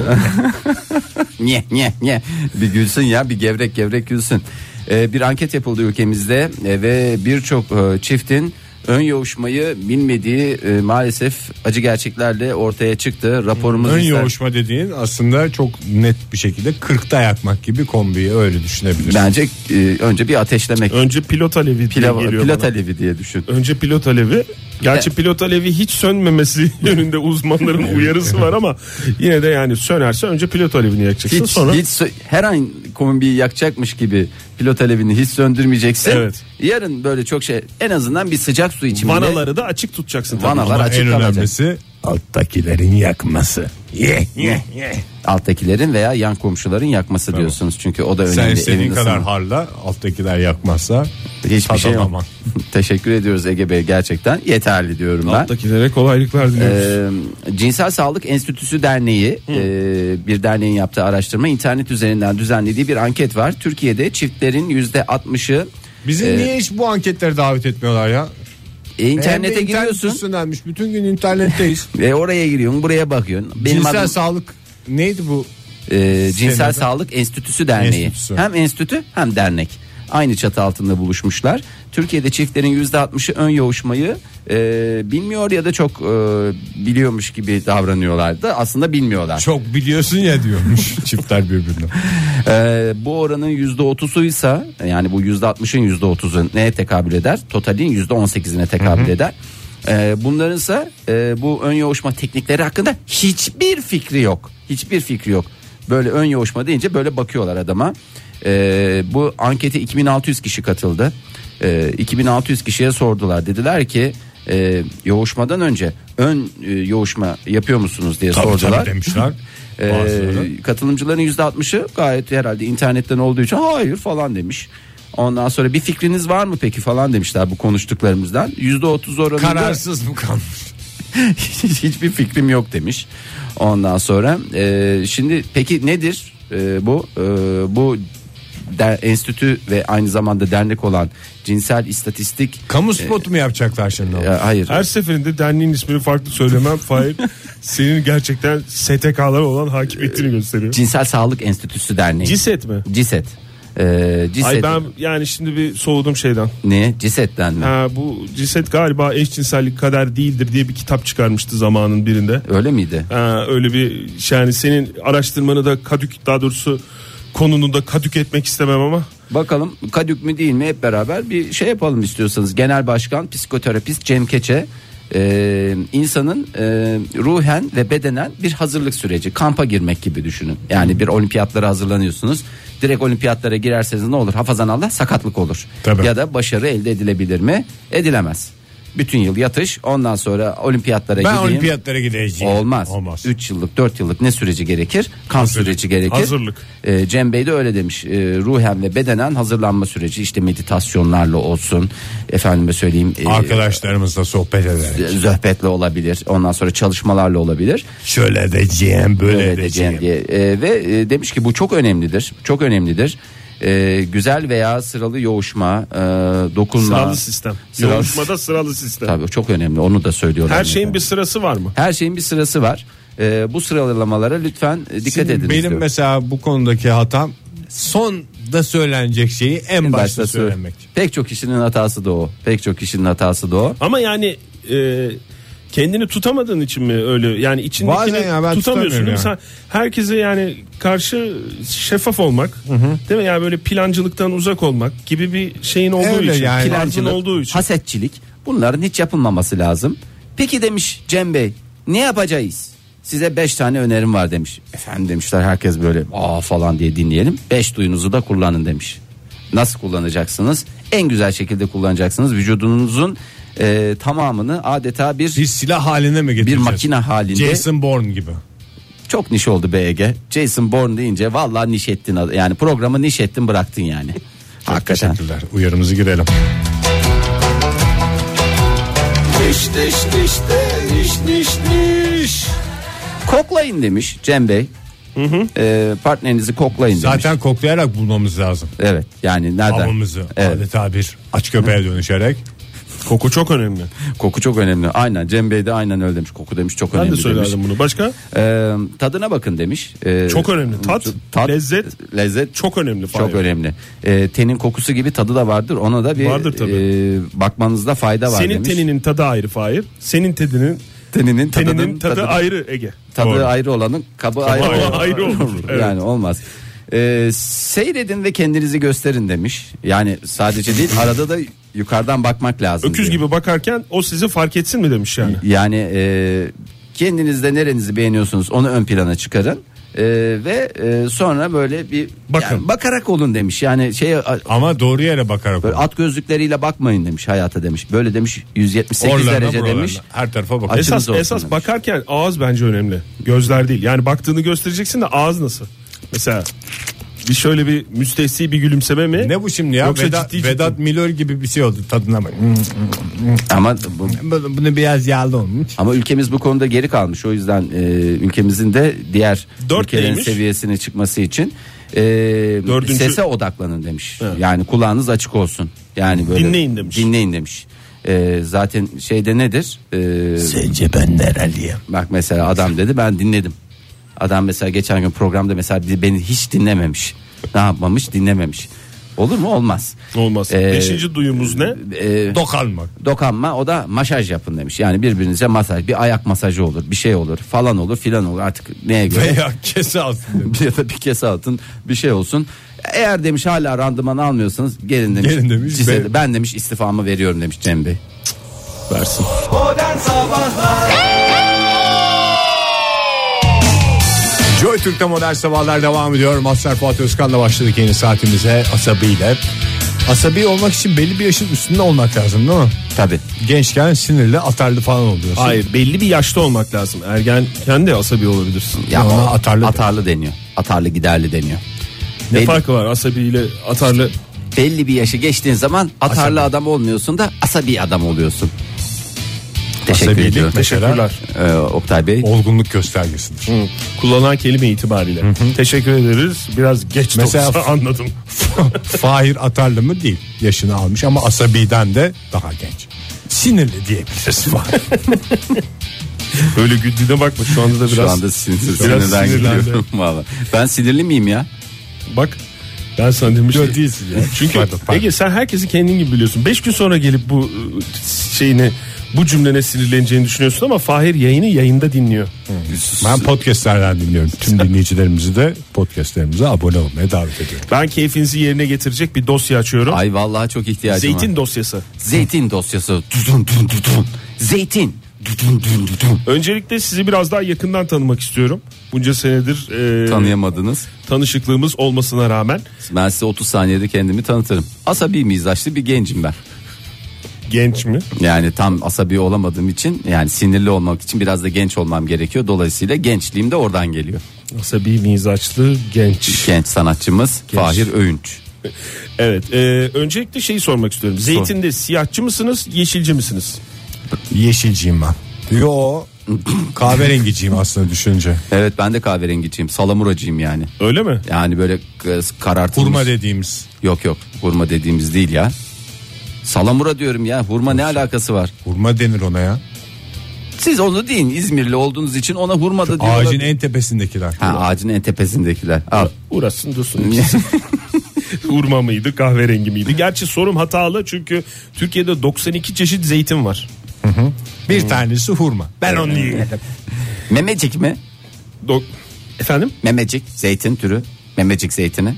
Speaker 4: Niye niye niye bir gülsün ya bir gevrek gevrek gülsün. Ee, bir anket yapıldı ülkemizde e, ve birçok e, çiftin ön yoğuşmayı bilmediği e, maalesef acı gerçeklerle ortaya çıktı. Raporumuz
Speaker 2: Ön
Speaker 4: ister-
Speaker 2: yoğuşma dediğin aslında çok net bir şekilde 40'ta yakmak gibi kombiyi öyle düşünebilirsin.
Speaker 4: Bence e, önce bir ateşlemek.
Speaker 3: Önce pilot alevi diye
Speaker 4: Pilav,
Speaker 3: geliyor
Speaker 4: pilot
Speaker 3: bana.
Speaker 4: alevi diye düşün.
Speaker 3: Önce pilot alevi. Gerçi pilot alevi hiç sönmemesi yönünde uzmanların uyarısı var ama yine de yani sönerse önce pilot alevini yakacaksın
Speaker 4: Hiç,
Speaker 3: sonra.
Speaker 4: hiç sö- her an kombiyi yakacakmış gibi pilot alevini hiç söndürmeyeceksin.
Speaker 3: Evet.
Speaker 4: Yarın böyle çok şey en azından bir sıcak su içiminde.
Speaker 3: Vanaları da açık tutacaksın tabii.
Speaker 4: Vanalar
Speaker 2: Ama
Speaker 4: açık
Speaker 2: en
Speaker 4: kalacak.
Speaker 2: önemlisi alttakilerin yakması. Ye, ye, ye.
Speaker 4: Alttakilerin veya yan komşuların yakması diyorsunuz. Çünkü o da önemli.
Speaker 2: Sen istediğin
Speaker 4: Evin
Speaker 2: kadar
Speaker 4: ısınma-
Speaker 2: harla alttakiler yakmazsa
Speaker 4: Hiçbir şey
Speaker 2: tadamam.
Speaker 4: yok. Teşekkür ediyoruz Ege Bey gerçekten yeterli diyorum ben.
Speaker 3: Alttakilere kolaylıklar diliyoruz.
Speaker 4: Ee, Cinsel Sağlık Enstitüsü Derneği e, bir derneğin yaptığı araştırma internet üzerinden düzenlediği bir anket var. Türkiye'de çiftlerin yüzde 60'ı
Speaker 2: Bizi
Speaker 4: Ee,
Speaker 2: niye hiç bu anketlere davet etmiyorlar ya?
Speaker 4: e, internete
Speaker 2: Hem de internet
Speaker 4: giriyorsun
Speaker 2: üstündenmiş. Bütün gün internetteyiz.
Speaker 4: ve oraya giriyorsun buraya bakıyorsun. Benim
Speaker 2: Cinsel
Speaker 4: adım
Speaker 2: sağlık neydi bu?
Speaker 4: e, Cinsel
Speaker 2: Senede.
Speaker 4: Sağlık Enstitüsü Derneği.
Speaker 2: Enstitüsü.
Speaker 4: Hem enstitü hem dernek. Aynı çatı altında buluşmuşlar. Türkiye'de çiftlerin yüzde 60'ı ön yoğuşmayı e, bilmiyor ya da çok e, biliyormuş gibi davranıyorlardı. Aslında bilmiyorlar.
Speaker 2: Çok biliyorsun ya diyormuş çiftler birbirine.
Speaker 4: Ee, bu oranın yüzde otuzuysa yani bu yüzde altmışın yüzde otuzu neye tekabül eder? Totalin yüzde on sekizine tekabül eder. Ee, bunlarınsa e, bu ön yoğuşma teknikleri hakkında hiçbir fikri yok. Hiçbir fikri yok. Böyle ön yoğuşma deyince böyle bakıyorlar adama. Ee, bu ankete 2600 kişi katıldı. Ee, 2600 kişiye sordular. Dediler ki e, yoğuşmadan önce ön e, yoğuşma yapıyor musunuz diye
Speaker 2: Tabii
Speaker 4: sordular.
Speaker 2: tabii demişler.
Speaker 4: Ee,
Speaker 2: Bazıları.
Speaker 4: katılımcıların %60'ı gayet herhalde internetten olduğu için hayır falan demiş. Ondan sonra bir fikriniz var mı peki falan demişler bu konuştuklarımızdan. %30 oranında
Speaker 2: Kararsız mı kalmış?
Speaker 4: hiçbir fikrim yok demiş. Ondan sonra e, şimdi peki nedir e, bu? E, bu der, enstitü ve aynı zamanda dernek olan cinsel istatistik
Speaker 2: Kamu spotu mu yapacaklar şimdi?
Speaker 4: E, hayır.
Speaker 3: Her seferinde derneğin ismini farklı söylemem Fahir senin gerçekten STK'lara olan hakimiyetini gösteriyor.
Speaker 4: Cinsel Sağlık Enstitüsü Derneği.
Speaker 3: Ciset mi?
Speaker 4: Ciset. E, ciset.
Speaker 3: Ay ben yani şimdi bir soğudum şeyden.
Speaker 4: Ne? Ciset'ten mi?
Speaker 3: Ha, bu ciset galiba eşcinsellik kader değildir diye bir kitap çıkarmıştı zamanın birinde.
Speaker 4: Öyle miydi?
Speaker 3: Ha, öyle bir şey yani senin araştırmanı da kadük daha doğrusu konunu da kadük etmek istemem ama
Speaker 4: Bakalım kadük mü değil mi hep beraber bir şey yapalım istiyorsanız. Genel Başkan Psikoterapist Cem Keçe e, insanın e, ruhen ve bedenen bir hazırlık süreci. Kampa girmek gibi düşünün. Yani bir olimpiyatlara hazırlanıyorsunuz. Direkt olimpiyatlara girerseniz ne olur? Hafazan Allah sakatlık olur.
Speaker 2: Tabii.
Speaker 4: Ya da başarı elde edilebilir mi? Edilemez. Bütün yıl yatış ondan sonra olimpiyatlara
Speaker 2: Ben
Speaker 4: gideyim.
Speaker 2: olimpiyatlara gideceğim.
Speaker 4: Olmaz.
Speaker 2: Olmaz.
Speaker 4: 3 yıllık 4 yıllık ne süreci gerekir? Kamp süreci gerekir.
Speaker 3: Hazırlık.
Speaker 4: Ee, Cem Bey de öyle demiş. Ee, ruhen ve bedenen hazırlanma süreci işte meditasyonlarla olsun. Efendime söyleyeyim. e,
Speaker 2: Arkadaşlarımızla sohbet ederek.
Speaker 4: zöhbetle olabilir. Ondan sonra çalışmalarla olabilir.
Speaker 2: Şöyle edeceğim, böyle,
Speaker 4: Öyle
Speaker 2: edeceğim.
Speaker 4: edeceğim diye. Ee, ve e, demiş ki bu çok önemlidir. Çok önemlidir. Ee, güzel veya sıralı yoğuşma, e, dokunma.
Speaker 3: sıralı sistem.
Speaker 4: Sıralı-
Speaker 3: Yoğuşmada sıralı sistem.
Speaker 4: Tabii çok önemli. Onu da söylüyorlar.
Speaker 3: Her şeyin bir sırası var mı?
Speaker 4: her şeyin bir sırası var. Ee, bu sıralamalara lütfen e, dikkat
Speaker 2: Şimdi
Speaker 4: edin.
Speaker 2: Benim
Speaker 4: istiyorum.
Speaker 2: mesela bu konudaki hatam son da söylenecek şeyi en başta,
Speaker 4: başta söyle-
Speaker 2: söylemek.
Speaker 4: Pek çok kişinin hatası da o. Pek çok kişinin hatası da o.
Speaker 3: Ama yani e, kendini tutamadığın için mi öyle? Yani içindekini
Speaker 2: Bazen ya ben
Speaker 3: tutamıyorsun.
Speaker 2: tutamıyorum
Speaker 3: değil mi? Sen herkese yani karşı şeffaf olmak, değil mi? Yani böyle plancılıktan uzak olmak gibi bir şeyin olduğu
Speaker 2: Öyle
Speaker 3: için,
Speaker 2: yani.
Speaker 3: yani.
Speaker 4: Plancılık,
Speaker 3: olduğu için.
Speaker 4: hasetçilik bunların hiç yapılmaması lazım. Peki demiş Cem Bey ne yapacağız? Size 5 tane önerim var demiş. Efendim demişler herkes böyle aa falan diye dinleyelim. 5 duyunuzu da kullanın demiş. Nasıl kullanacaksınız? En güzel şekilde kullanacaksınız. Vücudunuzun e, tamamını adeta bir
Speaker 2: Bir silah haline mi getireceğiz?
Speaker 4: makine halinde.
Speaker 2: Jason Bourne gibi.
Speaker 4: Çok niş oldu be Ege. Jason Bourne deyince vallahi niş ettin. ad- Yani programı niş ettin bıraktın yani. Hakikaten.
Speaker 2: Teşekkürler. Uyarımızı girelim.
Speaker 4: Koklayın demiş Cem Bey. Ee, partnerinizi koklayın demiş.
Speaker 2: Zaten koklayarak bulmamız lazım.
Speaker 4: Evet yani nereden?
Speaker 2: Avımızı
Speaker 4: Evet.
Speaker 2: adeta bir aç köpeğe dönüşerek.
Speaker 3: Koku çok önemli.
Speaker 4: Koku çok önemli. Aynen Cem Bey de aynen öyle demiş. Koku demiş çok
Speaker 3: Ben
Speaker 4: önemli
Speaker 3: de
Speaker 4: demiş.
Speaker 3: söyledim bunu. Başka?
Speaker 4: Ee, tadına bakın demiş. Ee,
Speaker 3: Çok önemli. Tat, lezzet
Speaker 4: lezzet
Speaker 3: çok önemli.
Speaker 4: Çok
Speaker 3: Fahir.
Speaker 4: önemli. Ee, tenin kokusu gibi tadı da vardır. Ona da bir
Speaker 3: Vardır tabii.
Speaker 4: e, bakmanızda fayda var
Speaker 3: Senin
Speaker 4: demiş.
Speaker 3: teninin tadı ayrı Fahir. Senin teninin
Speaker 4: teninin tadının-
Speaker 3: teninin tadı
Speaker 4: tadının-
Speaker 3: ayrı Ege.
Speaker 4: Tadı
Speaker 3: Doğru.
Speaker 4: ayrı olanın kabı ayrı,
Speaker 3: ayrı-
Speaker 4: olan-
Speaker 3: ayrı olur. Evet.
Speaker 4: Yani olmaz. Ee, seyredin ve kendinizi gösterin demiş. Yani sadece değil arada da yukarıdan bakmak lazım.
Speaker 3: Öküz
Speaker 4: diyor.
Speaker 3: gibi bakarken o sizi fark etsin mi demiş yani.
Speaker 4: Yani e, kendinizde nerenizi beğeniyorsunuz onu ön plana çıkarın. E, ve e, sonra böyle bir
Speaker 2: Bakın.
Speaker 4: yani bakarak olun demiş. Yani şey a-
Speaker 2: Ama doğru yere bakarak.
Speaker 4: böyle at gözlükleriyle bakmayın demiş hayata demiş. Böyle demiş 178
Speaker 2: Oralarına,
Speaker 4: derece
Speaker 2: buralarına,
Speaker 4: demiş.
Speaker 2: Her tarafa bak.
Speaker 4: Açın-
Speaker 3: Esas
Speaker 4: olsun
Speaker 3: esas
Speaker 4: demiş.
Speaker 3: bakarken ağız bence önemli. Gözler değil. Yani baktığını göstereceksin de ağız nasıl? Mesela bir şöyle bir müstehsi bir gülümseme mi?
Speaker 2: Ne bu şimdi ya?
Speaker 3: Yoksa
Speaker 2: Vedat,
Speaker 3: ciddi ciddi.
Speaker 2: Vedat Milor gibi bir şey oldu tadına bak.
Speaker 4: Ama bu,
Speaker 2: Bu- Bunu biraz yağlı olmuş.
Speaker 4: Ama ülkemiz bu konuda geri kalmış. O yüzden e, ülkemizin de diğer
Speaker 3: Dört
Speaker 4: ülkelerin
Speaker 3: neymiş?
Speaker 4: seviyesine çıkması için e,
Speaker 3: Dördüncü-
Speaker 4: sese odaklanın demiş. Yani kulağınız açık olsun. Yani böyle
Speaker 3: Dinleyin demiş.
Speaker 4: Dinleyin demiş. E, zaten şeyde nedir? E,
Speaker 2: Sence ben nereliyim?
Speaker 4: bak mesela adam dedi ben dinledim. Adam mesela geçen gün programda mesela bir- beni hiç dinlememiş. Ne yapmamış? Dinlememiş. Olur mu? Olmaz.
Speaker 3: Olmaz.
Speaker 4: E,
Speaker 3: Beşinci duyumuz ne?
Speaker 4: e,
Speaker 2: Dokanmak.
Speaker 4: dokanma o da masaj yapın demiş. Yani birbirinize masaj bir ayak masajı olur bir şey olur falan olur filan olur artık neye göre
Speaker 2: Veya kese alsın.
Speaker 4: ya da bir kese atın bir şey olsun. Eğer demiş hala randıman almıyorsanız gelin demiş.
Speaker 2: Gelin demiş,
Speaker 4: Size de-
Speaker 2: ben-
Speaker 4: ben, demiş istifamı veriyorum demiş Cem Bey.
Speaker 3: Versin.
Speaker 2: Joy Türk'te modern sabahlar devam ediyor. Mazhar Fuat Özkan'la başladık yeni saatimize asabiyle. Asabi olmak için belli bir yaşın üstünde olmak lazım değil mi?
Speaker 4: Tabii.
Speaker 2: Gençken sinirli atarlı falan oluyorsun.
Speaker 3: Hayır belli bir yaşta olmak lazım. Ergenken de asabi olabilirsin.
Speaker 4: Ya
Speaker 2: Ona
Speaker 4: o
Speaker 2: atarlı-
Speaker 4: atarlı deniyor. Atarlı giderli deniyor.
Speaker 3: Ne
Speaker 4: belli-
Speaker 3: farkı var asabiyle atarlı?
Speaker 4: Belli bir yaşı geçtiğin zaman atarlı adam olmuyorsun da asabi adam oluyorsun. Teşekkür
Speaker 2: Asabilik
Speaker 4: ediyorum.
Speaker 2: mesela
Speaker 4: Ee, Oktay Bey.
Speaker 2: olgunluk göstergesidir.
Speaker 3: Hı. Kullanan kelime itibariyle. Teşekkür ederiz. Biraz geç de
Speaker 2: Mesela-
Speaker 3: olsa anladım.
Speaker 2: Fahir atarlı mı değil. Yaşını almış ama asabiden de daha genç. Sinirli diyebiliriz Fahir.
Speaker 3: Böyle güldüğüne bakma şu anda da biraz.
Speaker 4: Şu anda sinir,
Speaker 3: biraz
Speaker 4: sinirden
Speaker 3: sinirlendi.
Speaker 4: gidiyorum valla. Ben sinirli miyim ya?
Speaker 3: Bak ben sana demiştim.
Speaker 2: Yok, değilsin ya.
Speaker 3: Çünkü
Speaker 2: Pardon, pardon.
Speaker 3: Ege sen herkesi kendin gibi biliyorsun. 5 gün sonra gelip bu e, şeyini bu cümlene sinirleneceğini düşünüyorsun ama Fahir yayını yayında dinliyor.
Speaker 2: ben podcastlerden dinliyorum. Tüm dinleyicilerimizi de podcastlerimize abone olmaya davet ediyorum.
Speaker 3: Ben keyfinizi yerine getirecek bir dosya açıyorum.
Speaker 4: Ay vallahi çok ihtiyacım var.
Speaker 3: Zeytin dosyası.
Speaker 4: Zeytin dosyası. Dudun dudun dudun. Zeytin. Dudun dudun dudun.
Speaker 3: Öncelikle sizi biraz daha yakından tanımak istiyorum. Bunca senedir e,
Speaker 4: Tanıyamadınız.
Speaker 3: tanışıklığımız olmasına rağmen
Speaker 4: Ben size 30 saniyede kendimi tanıtırım. Asabi mizaçlı bir gencim ben.
Speaker 3: genç mi?
Speaker 4: Yani tam asabi olamadığım için yani sinirli olmak için biraz da genç olmam gerekiyor. Dolayısıyla gençliğim de oradan geliyor.
Speaker 3: Asabi mizaçlı genç.
Speaker 4: Genç sanatçımız Fahir Öğünç.
Speaker 3: Evet. e, öncelikle şeyi sormak istiyorum. Zeytinde siyahçı mısınız, yeşilci misiniz?
Speaker 2: Yeşilciyim ben. Yo kahverengiciyim aslında düşünce.
Speaker 4: Evet ben de kahverengiciyim. Salamuracıyım yani.
Speaker 3: Öyle mi?
Speaker 4: Yani böyle e, karartılmış.
Speaker 2: Kurma dediğimiz.
Speaker 4: Yok yok hurma dediğimiz değil ya. Salamura diyorum ya hurma ne alakası var?
Speaker 2: Hurma denir ona ya.
Speaker 4: Siz onu deyin İzmirli olduğunuz için ona hurma da diyorlar.
Speaker 2: Ağacın en tepesindekiler.
Speaker 4: Ha, ağacın en tepesindekiler. Al.
Speaker 3: Uğrasın dursun. ikisi. Hurma mıydı kahverengi miydi? Gerçi sorum hatalı çünkü Türkiye'de 92 çeşit zeytin var.
Speaker 2: Bir tanesi hurma. Ben onu yiyeyim.
Speaker 4: Memecik mi?
Speaker 3: Dok- Efendim?
Speaker 4: Memecik zeytin türü. Memecik zeytini.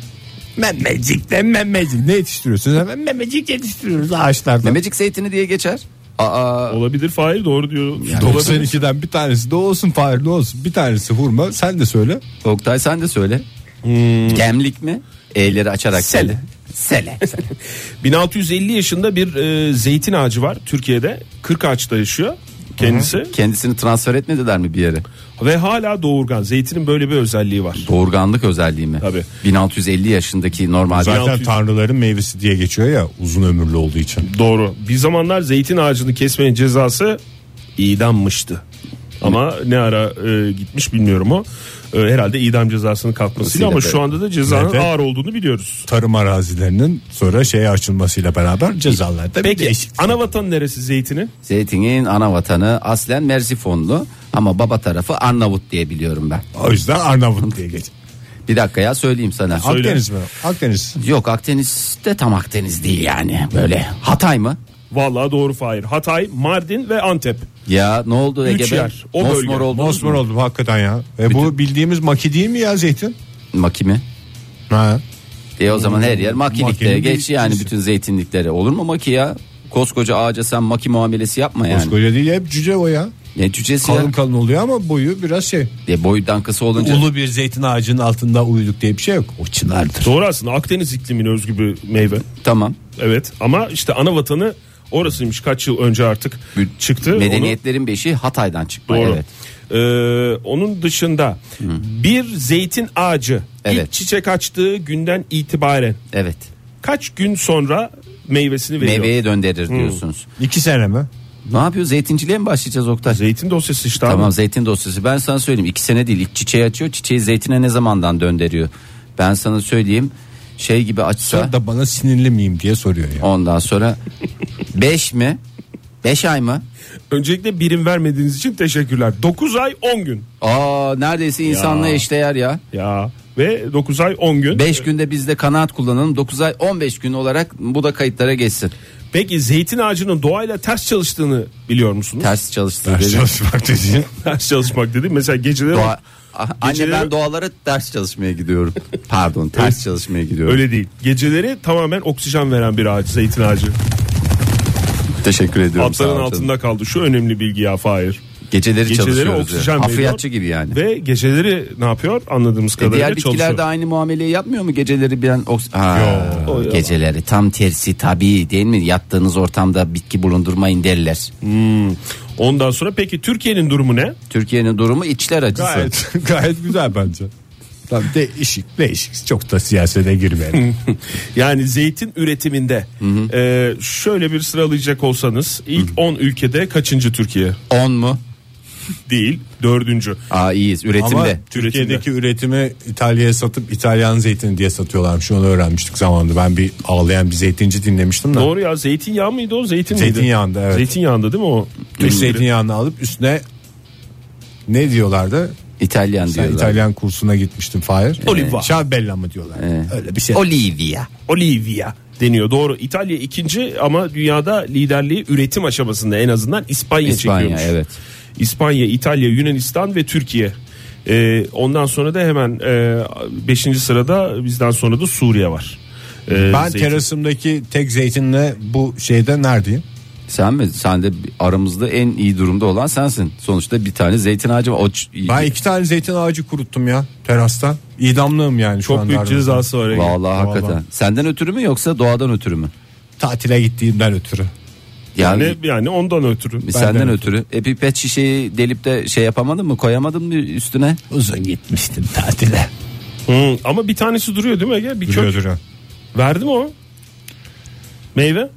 Speaker 2: Memecik de memecik. Ne yetiştiriyorsunuz? Hemen memecik yetiştiriyoruz ağaçlardan.
Speaker 4: Memecik zeytini diye geçer. Aa,
Speaker 3: Olabilir Fahir doğru diyor. Olabilir.
Speaker 2: 92'den bir tanesi de olsun Fahir ne olsun. Bir tanesi hurma sen de söyle.
Speaker 4: Oktay sen de söyle. Gemlik mi? E'leri açarak
Speaker 3: Sele.
Speaker 4: Sele.
Speaker 3: 1650 yaşında bir e, zeytin ağacı var Türkiye'de. 40 ağaçta yaşıyor kendisi.
Speaker 4: Kendisini transfer etmediler mi bir yere?
Speaker 3: Ve hala doğurgan. Zeytinin böyle bir özelliği var.
Speaker 4: Doğurganlık özelliği mi?
Speaker 3: Tabii.
Speaker 4: 1650 yaşındaki normal
Speaker 2: Zaten
Speaker 3: 1600
Speaker 2: tanrıların meyvesi diye geçiyor ya uzun ömürlü olduğu için.
Speaker 3: Doğru. Bir zamanlar zeytin ağacını kesmenin cezası idammıştı. Ama ne ara e, gitmiş bilmiyorum o. E, herhalde idam cezasını kalkmasıyla ama
Speaker 4: Kesinlikle.
Speaker 3: şu anda da cezanın
Speaker 2: Evet.
Speaker 3: ağır olduğunu biliyoruz.
Speaker 2: Tarım arazilerinin sonra şeye açılmasıyla beraber cezalarda bir
Speaker 3: Peki
Speaker 2: değişiklik.
Speaker 3: ana vatan neresi zeytinin?
Speaker 4: Zeytin'in ana vatanı aslen Merzifonlu ama baba tarafı Arnavut diye biliyorum ben.
Speaker 2: O yüzden Arnavut diye geçiyor.
Speaker 4: Bir dakika ya söyleyeyim sana.
Speaker 3: Söyle.
Speaker 2: Akdeniz mi? Akdeniz.
Speaker 4: Yok Akdeniz de tam Akdeniz değil yani böyle. Hatay mı?
Speaker 3: Vallahi doğru Fahir. Hatay, Mardin ve Antep.
Speaker 4: Ya ne oldu
Speaker 3: Üç
Speaker 4: Ege Bey?
Speaker 3: yer, o bölge.
Speaker 4: Mosmor oldunuz
Speaker 2: Mosmor
Speaker 4: mu?
Speaker 2: oldum hakikaten ya. E bu bildiğimiz maki değil mi ya zeytin?
Speaker 4: Maki mi?
Speaker 2: Ha.
Speaker 4: E o zaman her yer makilikte
Speaker 2: Makinin
Speaker 4: geç
Speaker 2: bir
Speaker 4: yani
Speaker 2: cinsi.
Speaker 4: bütün zeytinlikleri. Olur mu maki ya? Koskoca ağaca sen maki muamelesi yapma yani.
Speaker 2: Koskoca değil hep cüce o ya.
Speaker 4: Ne cücesi ya?
Speaker 2: Kalın kalın oluyor ama boyu biraz şey.
Speaker 4: E boydan kısa olunca.
Speaker 2: Ulu bir zeytin ağacının altında uyuduk diye bir şey yok. O çınardır.
Speaker 3: Doğru aslında Akdeniz iklimine özgü bir meyve.
Speaker 4: Tamam.
Speaker 3: Evet ama işte ana vatanı orasıymış kaç yıl önce artık
Speaker 4: Bir-
Speaker 3: çıktı. Onu-
Speaker 4: Medeniyetlerin beşi Hatay'dan çıkma.
Speaker 3: Doğru.
Speaker 4: Evet.
Speaker 3: Ee, onun dışında bir zeytin ağacı
Speaker 4: Evet.
Speaker 3: ilk çiçek açtığı günden itibaren
Speaker 4: Evet.
Speaker 3: kaç gün sonra meyvesini veriyor?
Speaker 4: Meyveye döndürür diyorsunuz.
Speaker 2: İki sene mi?
Speaker 4: Ne yapıyor? Zeytinciliğe mi başlayacağız Oktay?
Speaker 3: Zeytin dosyası işte
Speaker 4: Tamam
Speaker 3: abi.
Speaker 4: zeytin dosyası. Ben sana söyleyeyim. iki sene değil. ilk çiçeği açıyor. Çiçeği zeytine ne zamandan döndürüyor? Ben sana söyleyeyim. Şey gibi açsa
Speaker 2: Sonra da bana sinirli miyim diye soruyor ya.
Speaker 4: ondan sonra 5 mi? 5 ay mı?
Speaker 3: Öncelikle birim vermediğiniz için teşekkürler. 9 ay 10 gün.
Speaker 4: Aa neredeyse insanla eşdeğer ya.
Speaker 3: Ya ve 9 ay 10 gün.
Speaker 4: 5 günde biz de kanaat kullanalım. 9 ay 15 gün olarak bu da kayıtlara geçsin.
Speaker 3: Peki zeytin ağacının doğayla ters çalıştığını biliyor musunuz? Ters,
Speaker 4: Ters çalıştı.
Speaker 2: Ders
Speaker 4: dedi.
Speaker 2: çalışmak dediğin.
Speaker 3: çalışmak dedi. Mesela geceleri
Speaker 4: Doğa- Ah, Anne
Speaker 3: Geceleri-
Speaker 4: ben doğalara ders çalışmaya gidiyorum. Pardon ters çalışmaya gidiyorum.
Speaker 3: öyle değil. Geceleri tamamen oksijen veren bir ağaç zeytin ağacı.
Speaker 4: Teşekkür ediyorum. sağ
Speaker 3: Atların
Speaker 4: ol canım.
Speaker 3: altında kaldı. Şu önemli bilgi ya Fahir.
Speaker 4: Geceleri,
Speaker 3: Geceleri
Speaker 4: çalışıyoruz.
Speaker 3: oksijen
Speaker 4: diyor.
Speaker 3: veriyor.
Speaker 4: Hafriyatçı gibi yani.
Speaker 3: Ve geceleri ne yapıyor anladığımız
Speaker 4: E
Speaker 3: kadarıyla
Speaker 4: diğer bitkiler de
Speaker 3: çalışıyor.
Speaker 4: aynı muameleyi yapmıyor mu? Geceleri bir an oks- Ha,
Speaker 3: Yo, o ya.
Speaker 4: geceleri tam tersi tabii değil mi? Yattığınız ortamda bitki bulundurmayın derler.
Speaker 3: Ondan sonra peki Türkiye'nin durumu ne?
Speaker 4: Türkiye'nin durumu içler acısı.
Speaker 2: Gayet, gayet güzel bence. Tam değişik değişik çok da siyasete girmeyelim.
Speaker 3: Yani zeytin üretiminde e, şöyle bir sıralayacak olsanız ilk 10 ülkede kaçıncı Türkiye?
Speaker 4: 10 mu?
Speaker 3: Değil dördüncü.
Speaker 4: Aa iyiyiz
Speaker 2: Ama
Speaker 4: üretimde.
Speaker 2: Türkiye'deki üretimi İtalya'ya satıp İtalyan zeytini diye satıyorlarmış. Onu öğrenmiştik zamanında. Ben bir ağlayan bir zeytinci dinlemiştim de.
Speaker 3: Doğru ya zeytinyağı mıydı o zeytin miydi?
Speaker 2: Zeytinyağında, evet.
Speaker 3: Zeytinyağında değil mi o?
Speaker 2: Türk
Speaker 3: Ürünleri.
Speaker 2: zeytinyağını alıp üstüne ne diyorlardı?
Speaker 4: İtalyan
Speaker 2: Sen
Speaker 4: diyorlar.
Speaker 2: İtalyan kursuna gitmiştim Fahir.
Speaker 3: Oliva.
Speaker 2: Şabella mı diyorlar? Öyle bir şey.
Speaker 4: Olivia.
Speaker 3: Olivia deniyor. Doğru. İtalya ikinci ama dünyada liderliği üretim aşamasında en azından İspanya,
Speaker 4: İspanya,
Speaker 3: çekiyormuş.
Speaker 4: evet.
Speaker 3: İspanya, İtalya, Yunanistan ve Türkiye. Ee, ondan sonra da hemen 5. sırada bizden sonra da Suriye var. Ee,
Speaker 2: ben
Speaker 3: zeytin.
Speaker 2: terasımdaki tek zeytinle bu şeyde neredeyim?
Speaker 4: Sen mi? Sen de aramızda en iyi durumda olan sensin. Sonuçta bir tane zeytin ağacı var. O ç-
Speaker 2: Ben iki tane zeytin ağacı kuruttum ya terastan. İdamlığım yani şu
Speaker 3: çok
Speaker 2: anda
Speaker 3: büyük
Speaker 2: aramızda.
Speaker 3: cezası var. Ege.
Speaker 4: Vallahi hakikaten.
Speaker 2: Vallahi.
Speaker 4: Senden ötürü mü yoksa doğadan ötürü mü?
Speaker 2: Tatile gittiğimden ötürü.
Speaker 4: Yani,
Speaker 3: Yani, yani ondan ötürü.
Speaker 4: senden
Speaker 2: benden
Speaker 4: ötürü. Epipet şişeyi delip de şey yapamadın mı? Koyamadın mı üstüne?
Speaker 2: Uzun gitmiştim tatile.
Speaker 3: Hı, ama bir tanesi duruyor değil mi Ege? Bir
Speaker 2: Duruyor
Speaker 3: kök.
Speaker 2: duruyor.
Speaker 3: Verdi mi o? Meyve?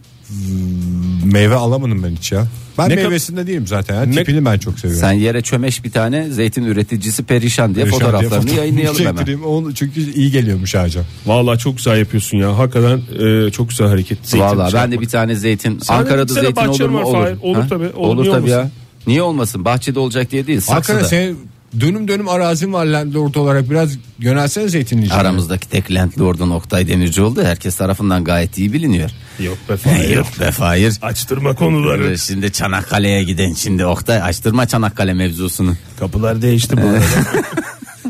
Speaker 2: Meyve alamadım ben hiç ya. Ben
Speaker 3: Ne kadar-
Speaker 2: meyvesinde değilim zaten. ya. Tipini ben çok seviyorum.
Speaker 4: Sen yere çömeş bir tane zeytin üreticisi perişan diye
Speaker 2: Perişan diye
Speaker 4: fotoğraflarını
Speaker 2: fotoğraf Şey
Speaker 4: yayınlayalım hemen.
Speaker 2: çektireyim. Onu çünkü iyi geliyormuş ağaca.
Speaker 3: Vallahi çok güzel yapıyorsun ya. Hakikaten e, çok güzel hareket. Zeytin
Speaker 4: Vallahi ben de
Speaker 3: çarpmak.
Speaker 4: bir tane zeytin.
Speaker 3: Sen de
Speaker 4: Ankara'da
Speaker 3: gitsene
Speaker 4: zeytin
Speaker 3: bahçen
Speaker 4: olur mu?
Speaker 3: var
Speaker 4: Olur.
Speaker 3: Fahir. Olur
Speaker 4: Ha?
Speaker 3: tabii. Olur,
Speaker 4: Olur,
Speaker 3: niye
Speaker 4: tabii ya. Niye olmasın? Bahçede olacak diye değil. Saksıda.
Speaker 2: Hakikaten sen dönüm dönüm arazin var landlord olarak biraz yönelsene zeytinliğe.
Speaker 4: Aramızdaki tek landlordun Oktay Demirci oldu. Herkes tarafından gayet iyi biliniyor.
Speaker 3: Yok be Fahir.
Speaker 4: Yok be Fahir. Ee,
Speaker 3: Açtırma konuları.
Speaker 4: Şimdi Çanakkale'ye giden şimdi Oktay açtırma Çanakkale mevzusunu.
Speaker 3: Kapılar değişti bu arada.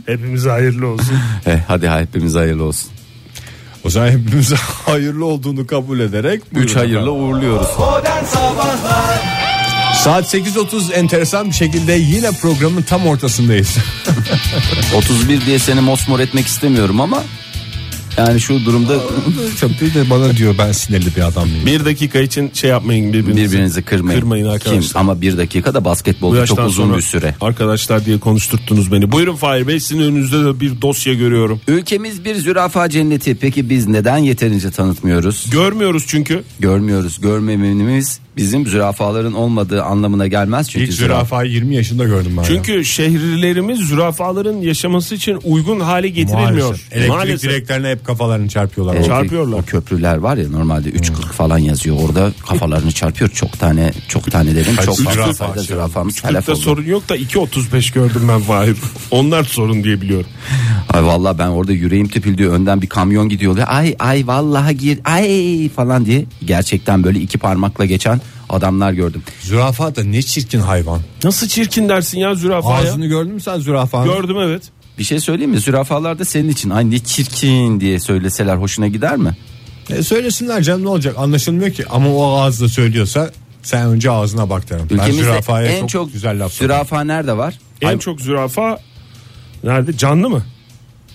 Speaker 3: Hepimize hayırlı olsun.
Speaker 4: Eh, hadi hepimiz hayırlı olsun.
Speaker 2: O zaman hepimize hayırlı olduğunu kabul ederek
Speaker 4: Üç hayırla uğurluyoruz.
Speaker 2: Saat 8.30 enteresan bir şekilde yine programın tam ortasındayız.
Speaker 4: 31 diye seni mosmor etmek istemiyorum ama yani şu durumda
Speaker 2: Çok değil de bana diyor ben sinirli bir adam mıyım?
Speaker 3: Bir dakika için şey yapmayın birbirinizi.
Speaker 4: birbirinizi kırmayın.
Speaker 3: Kırmayın arkadaşlar.
Speaker 4: Kim? Ama bir dakikada basketbolda çok
Speaker 3: yaştan
Speaker 4: uzun
Speaker 3: sonra
Speaker 4: bir süre.
Speaker 3: Arkadaşlar diye konuşturttunuz beni. Buyurun Fahir Bey sizin önünüzde de bir dosya görüyorum.
Speaker 4: Ülkemiz bir zürafa cenneti. Peki biz neden yeterince tanıtmıyoruz?
Speaker 3: Görmüyoruz çünkü.
Speaker 4: Görmüyoruz. Görmememiz bizim zürafaların olmadığı anlamına gelmez. Çünkü
Speaker 2: İlk zürafayı 20 yaşında gördüm ben.
Speaker 3: Çünkü şehirlerimiz zürafaların yaşaması için uygun hale
Speaker 2: ya.
Speaker 3: getirilmiyor.
Speaker 2: Maalesef. elektrik direklerine hep kafalarını çarpıyorlar.
Speaker 4: zürafa-
Speaker 3: çarpıyorlar. Hmm.
Speaker 4: O köprüler var ya normalde 3.40 falan yazıyor orada kafalarını çarpıyor çok tane çok tane dedim çok
Speaker 2: zürafa
Speaker 4: fazla
Speaker 2: var
Speaker 3: şey.
Speaker 4: sayıda
Speaker 2: şimdi?
Speaker 4: zürafamız
Speaker 3: Tıpta
Speaker 4: telef oldu.
Speaker 3: sorun yok da 2.35 gördüm ben Fahir. Onlar sorun diye biliyorum.
Speaker 4: Ay vallahi ben orada yüreğim tepildi. Önden bir kamyon gidiyor. diye, Ay ay vallahi gir ay falan diye gerçekten böyle iki parmakla geçen adamlar gördüm.
Speaker 2: Zürafa da ne çirkin hayvan.
Speaker 3: Nasıl çirkin dersin ya zürafaya?
Speaker 2: Ağzını gördün mü sen zürafanın?
Speaker 3: Gördüm evet.
Speaker 4: Bir şey söyleyeyim mi? Zürafalar da senin için ay ne çirkin diye söyleseler hoşuna gider mi?
Speaker 2: E, söylesinler canım ne olacak anlaşılmıyor ki. Ama o ağızla söylüyorsa sen önce ağzına bak derim. Ben
Speaker 4: Ülkemizde
Speaker 2: zürafaya
Speaker 4: en
Speaker 2: çok,
Speaker 4: çok,
Speaker 2: güzel laf söylerim.
Speaker 4: zürafa nerede var?
Speaker 3: En çok zürafa nerede? Canlı mı?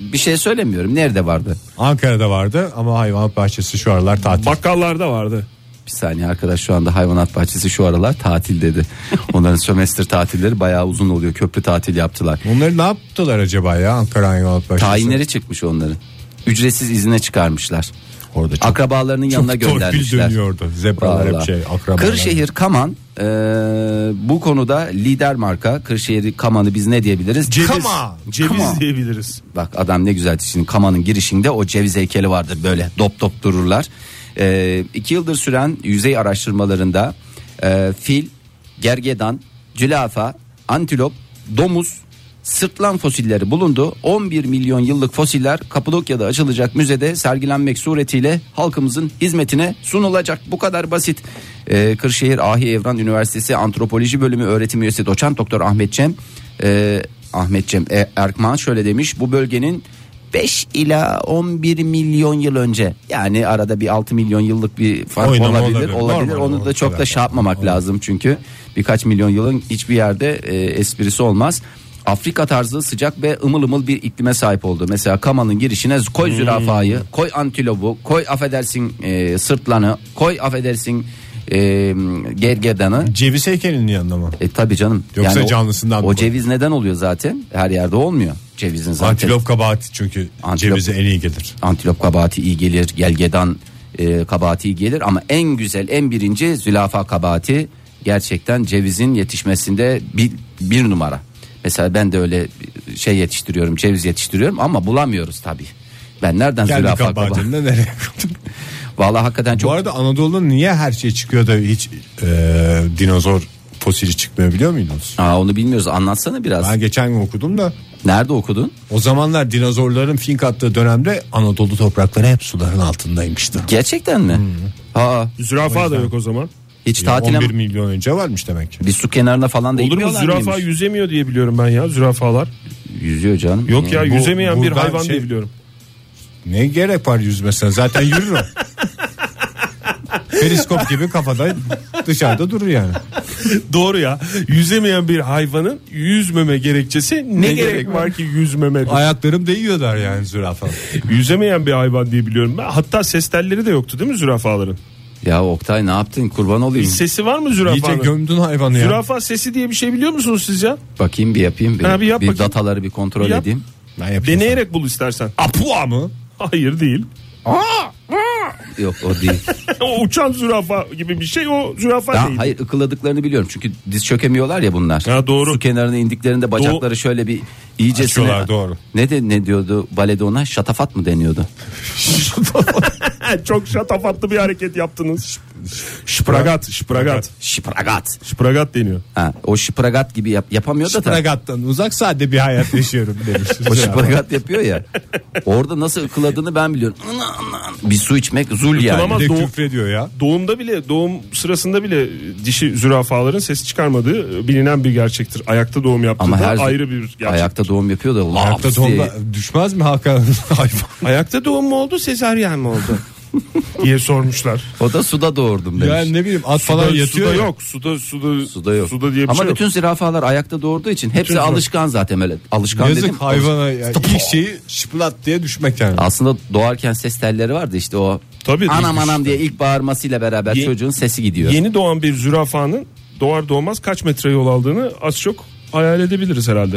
Speaker 4: Bir şey söylemiyorum. Nerede vardı?
Speaker 2: Ankara'da vardı ama hayvanat bahçesi şu aralar tatil.
Speaker 3: Bakkallarda vardı.
Speaker 4: Bir saniye arkadaş şu anda hayvanat bahçesi şu aralar tatil dedi. Onların sömestr tatilleri bayağı uzun oluyor. Köprü tatil yaptılar.
Speaker 2: Bunları ne yaptılar acaba ya Ankara hayvanat bahçesi?
Speaker 4: Tayinleri çıkmış onların. Ücretsiz izine çıkarmışlar.
Speaker 2: Orada çok,
Speaker 4: Akrabalarının yanına
Speaker 2: çok torpil
Speaker 4: göndermişler.
Speaker 2: dönüyordu. Zebralar hep
Speaker 4: Vallahi.
Speaker 2: şey akrabalar.
Speaker 4: Kırşehir Kaman e, bu konuda lider marka. Kırşehir Kaman'ı biz ne diyebiliriz?
Speaker 2: Ceviz.
Speaker 4: Kama.
Speaker 3: Ceviz
Speaker 4: Kama.
Speaker 3: diyebiliriz.
Speaker 4: Bak adam ne güzel şimdi Kaman'ın girişinde o ceviz heykeli vardır böyle dop dop dururlar. E, iki yıldır süren yüzey araştırmalarında e, fil, gergedan, zülafa, antilop, domuz, sırtlan fosilleri bulundu. 11 milyon yıllık fosiller Kapadokya'da açılacak müzede sergilenmek suretiyle halkımızın hizmetine sunulacak. Bu kadar basit. E, Kırşehir Ahi Evran Üniversitesi Antropoloji Bölümü öğretim üyesi doçent doktor Ahmet Cem e, Ahmet Cem e, Erkman şöyle demiş. Bu bölgenin 5 ila 11 milyon yıl önce yani arada bir 6 milyon yıllık bir fark
Speaker 2: Oynama
Speaker 4: olabilir
Speaker 2: olabilir.
Speaker 4: olabilir,
Speaker 2: Normal
Speaker 4: onu da
Speaker 2: olur.
Speaker 4: çok da
Speaker 2: Evet.
Speaker 4: şey yapmamak lazım çünkü birkaç milyon yılın hiçbir yerde e, esprisi olmaz. Afrika tarzı sıcak ve ımıl ımıl bir iklime sahip oldu. Mesela Kama'nın girişine koy
Speaker 2: Hmm.
Speaker 4: zürafayı, koy antilobu, koy affedersin e, sırtlanı, koy affedersin e, gergedanı.
Speaker 2: Ceviz heykelinin yanında mı?
Speaker 4: E tabi canım.
Speaker 2: Yoksa
Speaker 4: o-
Speaker 2: canlısından mı
Speaker 4: O
Speaker 2: koy?
Speaker 4: ceviz neden oluyor zaten? Her yerde olmuyor cevizin zaten.
Speaker 2: Antilop kabahati çünkü
Speaker 4: Antilop.
Speaker 2: cevize en iyi gelir.
Speaker 4: Antilop kabahati iyi gelir, gelgedan e, kabahati iyi gelir ama en güzel en birinci zülafa kabahati gerçekten cevizin yetişmesinde bir, bir numara. Mesela ben de öyle şey yetiştiriyorum, ceviz yetiştiriyorum ama bulamıyoruz tabii. Ben nereden
Speaker 2: Kendi
Speaker 4: zülafa kabahati?
Speaker 2: kabahatinden nereye koydun?
Speaker 4: Vallahi hakikaten
Speaker 2: Bu
Speaker 4: çok
Speaker 2: arada Anadolu'da niye her şey çıkıyor da hiç e, dinozor fosili çıkmıyor biliyor muydunuz?
Speaker 4: Aa, onu bilmiyoruz. Anlatsana biraz.
Speaker 2: Ben geçen gün okudum da
Speaker 4: Nerede okudun?
Speaker 2: o zamanlar dinozorların fink attığı dönemde Anadolu toprakları hep suların altındaymıştı.
Speaker 4: Gerçekten mi? Aa,
Speaker 3: Zürafa da yok o zaman.
Speaker 4: hiç
Speaker 2: Hmm. Ya
Speaker 4: tatile
Speaker 2: 11 milyon önce varmış demek ki.
Speaker 4: bir su kenarına falan da
Speaker 3: Olur mu
Speaker 4: gitmiyorlar
Speaker 3: zürafa
Speaker 4: mıymış?
Speaker 3: yüzemiyor diye biliyorum ben ya zürafalar.
Speaker 4: Yüzüyor canım.
Speaker 3: Yok ya
Speaker 2: Bu-
Speaker 3: yüzemeyen bir
Speaker 2: buradan
Speaker 3: hayvan
Speaker 2: şey-
Speaker 3: diye biliyorum.
Speaker 2: Ne gerek var yüzmesine zaten yürür o. Periskop gibi kafada dışarıda durur yani.
Speaker 3: Doğru ya. Yüzemeyen bir hayvanın yüzmeme gerekçesi ne, gerek, var ki yüzmeme?
Speaker 2: Ayaklarım değiyor der yani zürafa.
Speaker 3: Yüzemeyen bir hayvan diye biliyorum ben. Hatta ses telleri de yoktu değil mi zürafaların?
Speaker 4: Ya Oktay ne yaptın? Kurban olayım.
Speaker 3: Sesi var mı
Speaker 2: İyice
Speaker 3: zürafanın?
Speaker 2: gömdün hayvanı ya.
Speaker 3: Zürafa sesi diye bir şey biliyor musunuz siz ya?
Speaker 4: Bakayım bir yapayım. Bir,
Speaker 3: Ha, bir yap
Speaker 4: bir
Speaker 3: bakayım.
Speaker 4: dataları bir kontrol
Speaker 3: Yap.
Speaker 4: edeyim.
Speaker 2: Ben yapayım
Speaker 3: Deneyerek bul istersen.
Speaker 2: sana. Apua mı?
Speaker 3: Hayır değil.
Speaker 4: Yok o değil.
Speaker 3: o uçan zürafa gibi bir şey o zürafa
Speaker 4: Ya
Speaker 3: değil.
Speaker 4: hayır ıkıladıklarını biliyorum. Çünkü diz çökemiyorlar ya bunlar.
Speaker 3: Ha, doğru.
Speaker 4: Su kenarına indiklerinde bacakları şöyle bir iyicesine.
Speaker 2: Açıyorlar, doğru.
Speaker 4: Ne de ne diyordu balede ona? Şatafat mı deniyordu?
Speaker 3: Çok şatafatlı bir hareket yaptınız. Şıpragat, şıpragat.
Speaker 4: Şıpragat.
Speaker 3: Şıpragat deniyor.
Speaker 4: Ha, o şıpragat gibi yap, yapamıyor da da.
Speaker 2: Şıpragattan uzak sade bir hayat yaşıyorum demiş.
Speaker 4: O şıpragat yapıyor ya. Orada nasıl ıkıladığını ben biliyorum. Ana, ana, ana. Bir su içmek zul yani.
Speaker 3: Ama
Speaker 2: Bir de
Speaker 3: doğu-
Speaker 2: küfrediyor ya.
Speaker 3: Doğumda bile doğum sırasında bile dişi zürafaların ses çıkarmadığı e, bilinen bir gerçektir. Ayakta doğum yaptığı
Speaker 4: Ama
Speaker 3: da
Speaker 4: her
Speaker 3: ayrı bir gerçek. Ayakta,
Speaker 4: ayakta doğum yapıyor da.
Speaker 2: Ayakta
Speaker 4: laps diye.
Speaker 2: tomba düşmez mi Hakan hayvan?
Speaker 3: doğum mu oldu sezaryen mi oldu? diye sormuşlar.
Speaker 4: O da suda doğurdum demiş.
Speaker 2: Yani ne bileyim at falan
Speaker 3: Suda-
Speaker 2: yatıyor.
Speaker 3: suda
Speaker 2: ya.
Speaker 3: yok. Suda suda
Speaker 4: Suda yok.
Speaker 3: Suda diye bir
Speaker 4: Ama
Speaker 3: şey yok.
Speaker 4: bütün zürafalar ayakta doğurduğu için hepsi
Speaker 3: zürafa-
Speaker 4: alışkan zaten öyle. Alışkan
Speaker 2: Yazık
Speaker 4: dedim.
Speaker 2: hayvana ya. İlk şeyi şıplat diye düşmek yani.
Speaker 4: Aslında doğarken ses telleri vardı işte o.
Speaker 3: Tabii,
Speaker 4: anam
Speaker 3: ilginç
Speaker 4: anam diye ilk bağırmasıyla beraber
Speaker 3: Ye-
Speaker 4: çocuğun sesi gidiyor.
Speaker 3: Yeni doğan bir zürafanın doğar doğmaz kaç metre yol aldığını az çok hayal edebiliriz herhalde.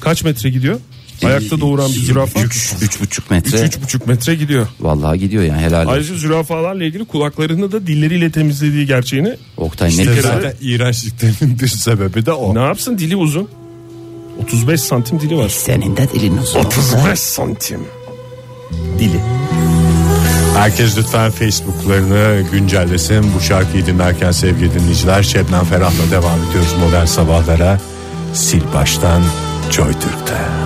Speaker 3: Kaç metre gidiyor? Ayakta doğuran bir zürafa 3
Speaker 4: Üç buçuk metre.
Speaker 3: 3,5 metre gidiyor.
Speaker 4: Vallahi gidiyor yani helal. olsun.
Speaker 3: Ayrıca zürafalarla ilgili kulaklarını da dilleriyle temizlediği gerçeğini
Speaker 4: Oktay ne
Speaker 2: İşte
Speaker 4: güzel.
Speaker 2: zaten iğrençliklerinin bir sebebi de o.
Speaker 3: ne yapsın dili uzun. 35 santim dili var.
Speaker 4: Senin de dilin uzun.
Speaker 3: 35 santim. Dili.
Speaker 2: Herkes lütfen Facebook'larını güncellesin. Bu şarkıyı dinlerken sevgili dinleyiciler Şebnem Ferah'la devam ediyoruz modern sabahlara. Sil baştan Joy Türk'te.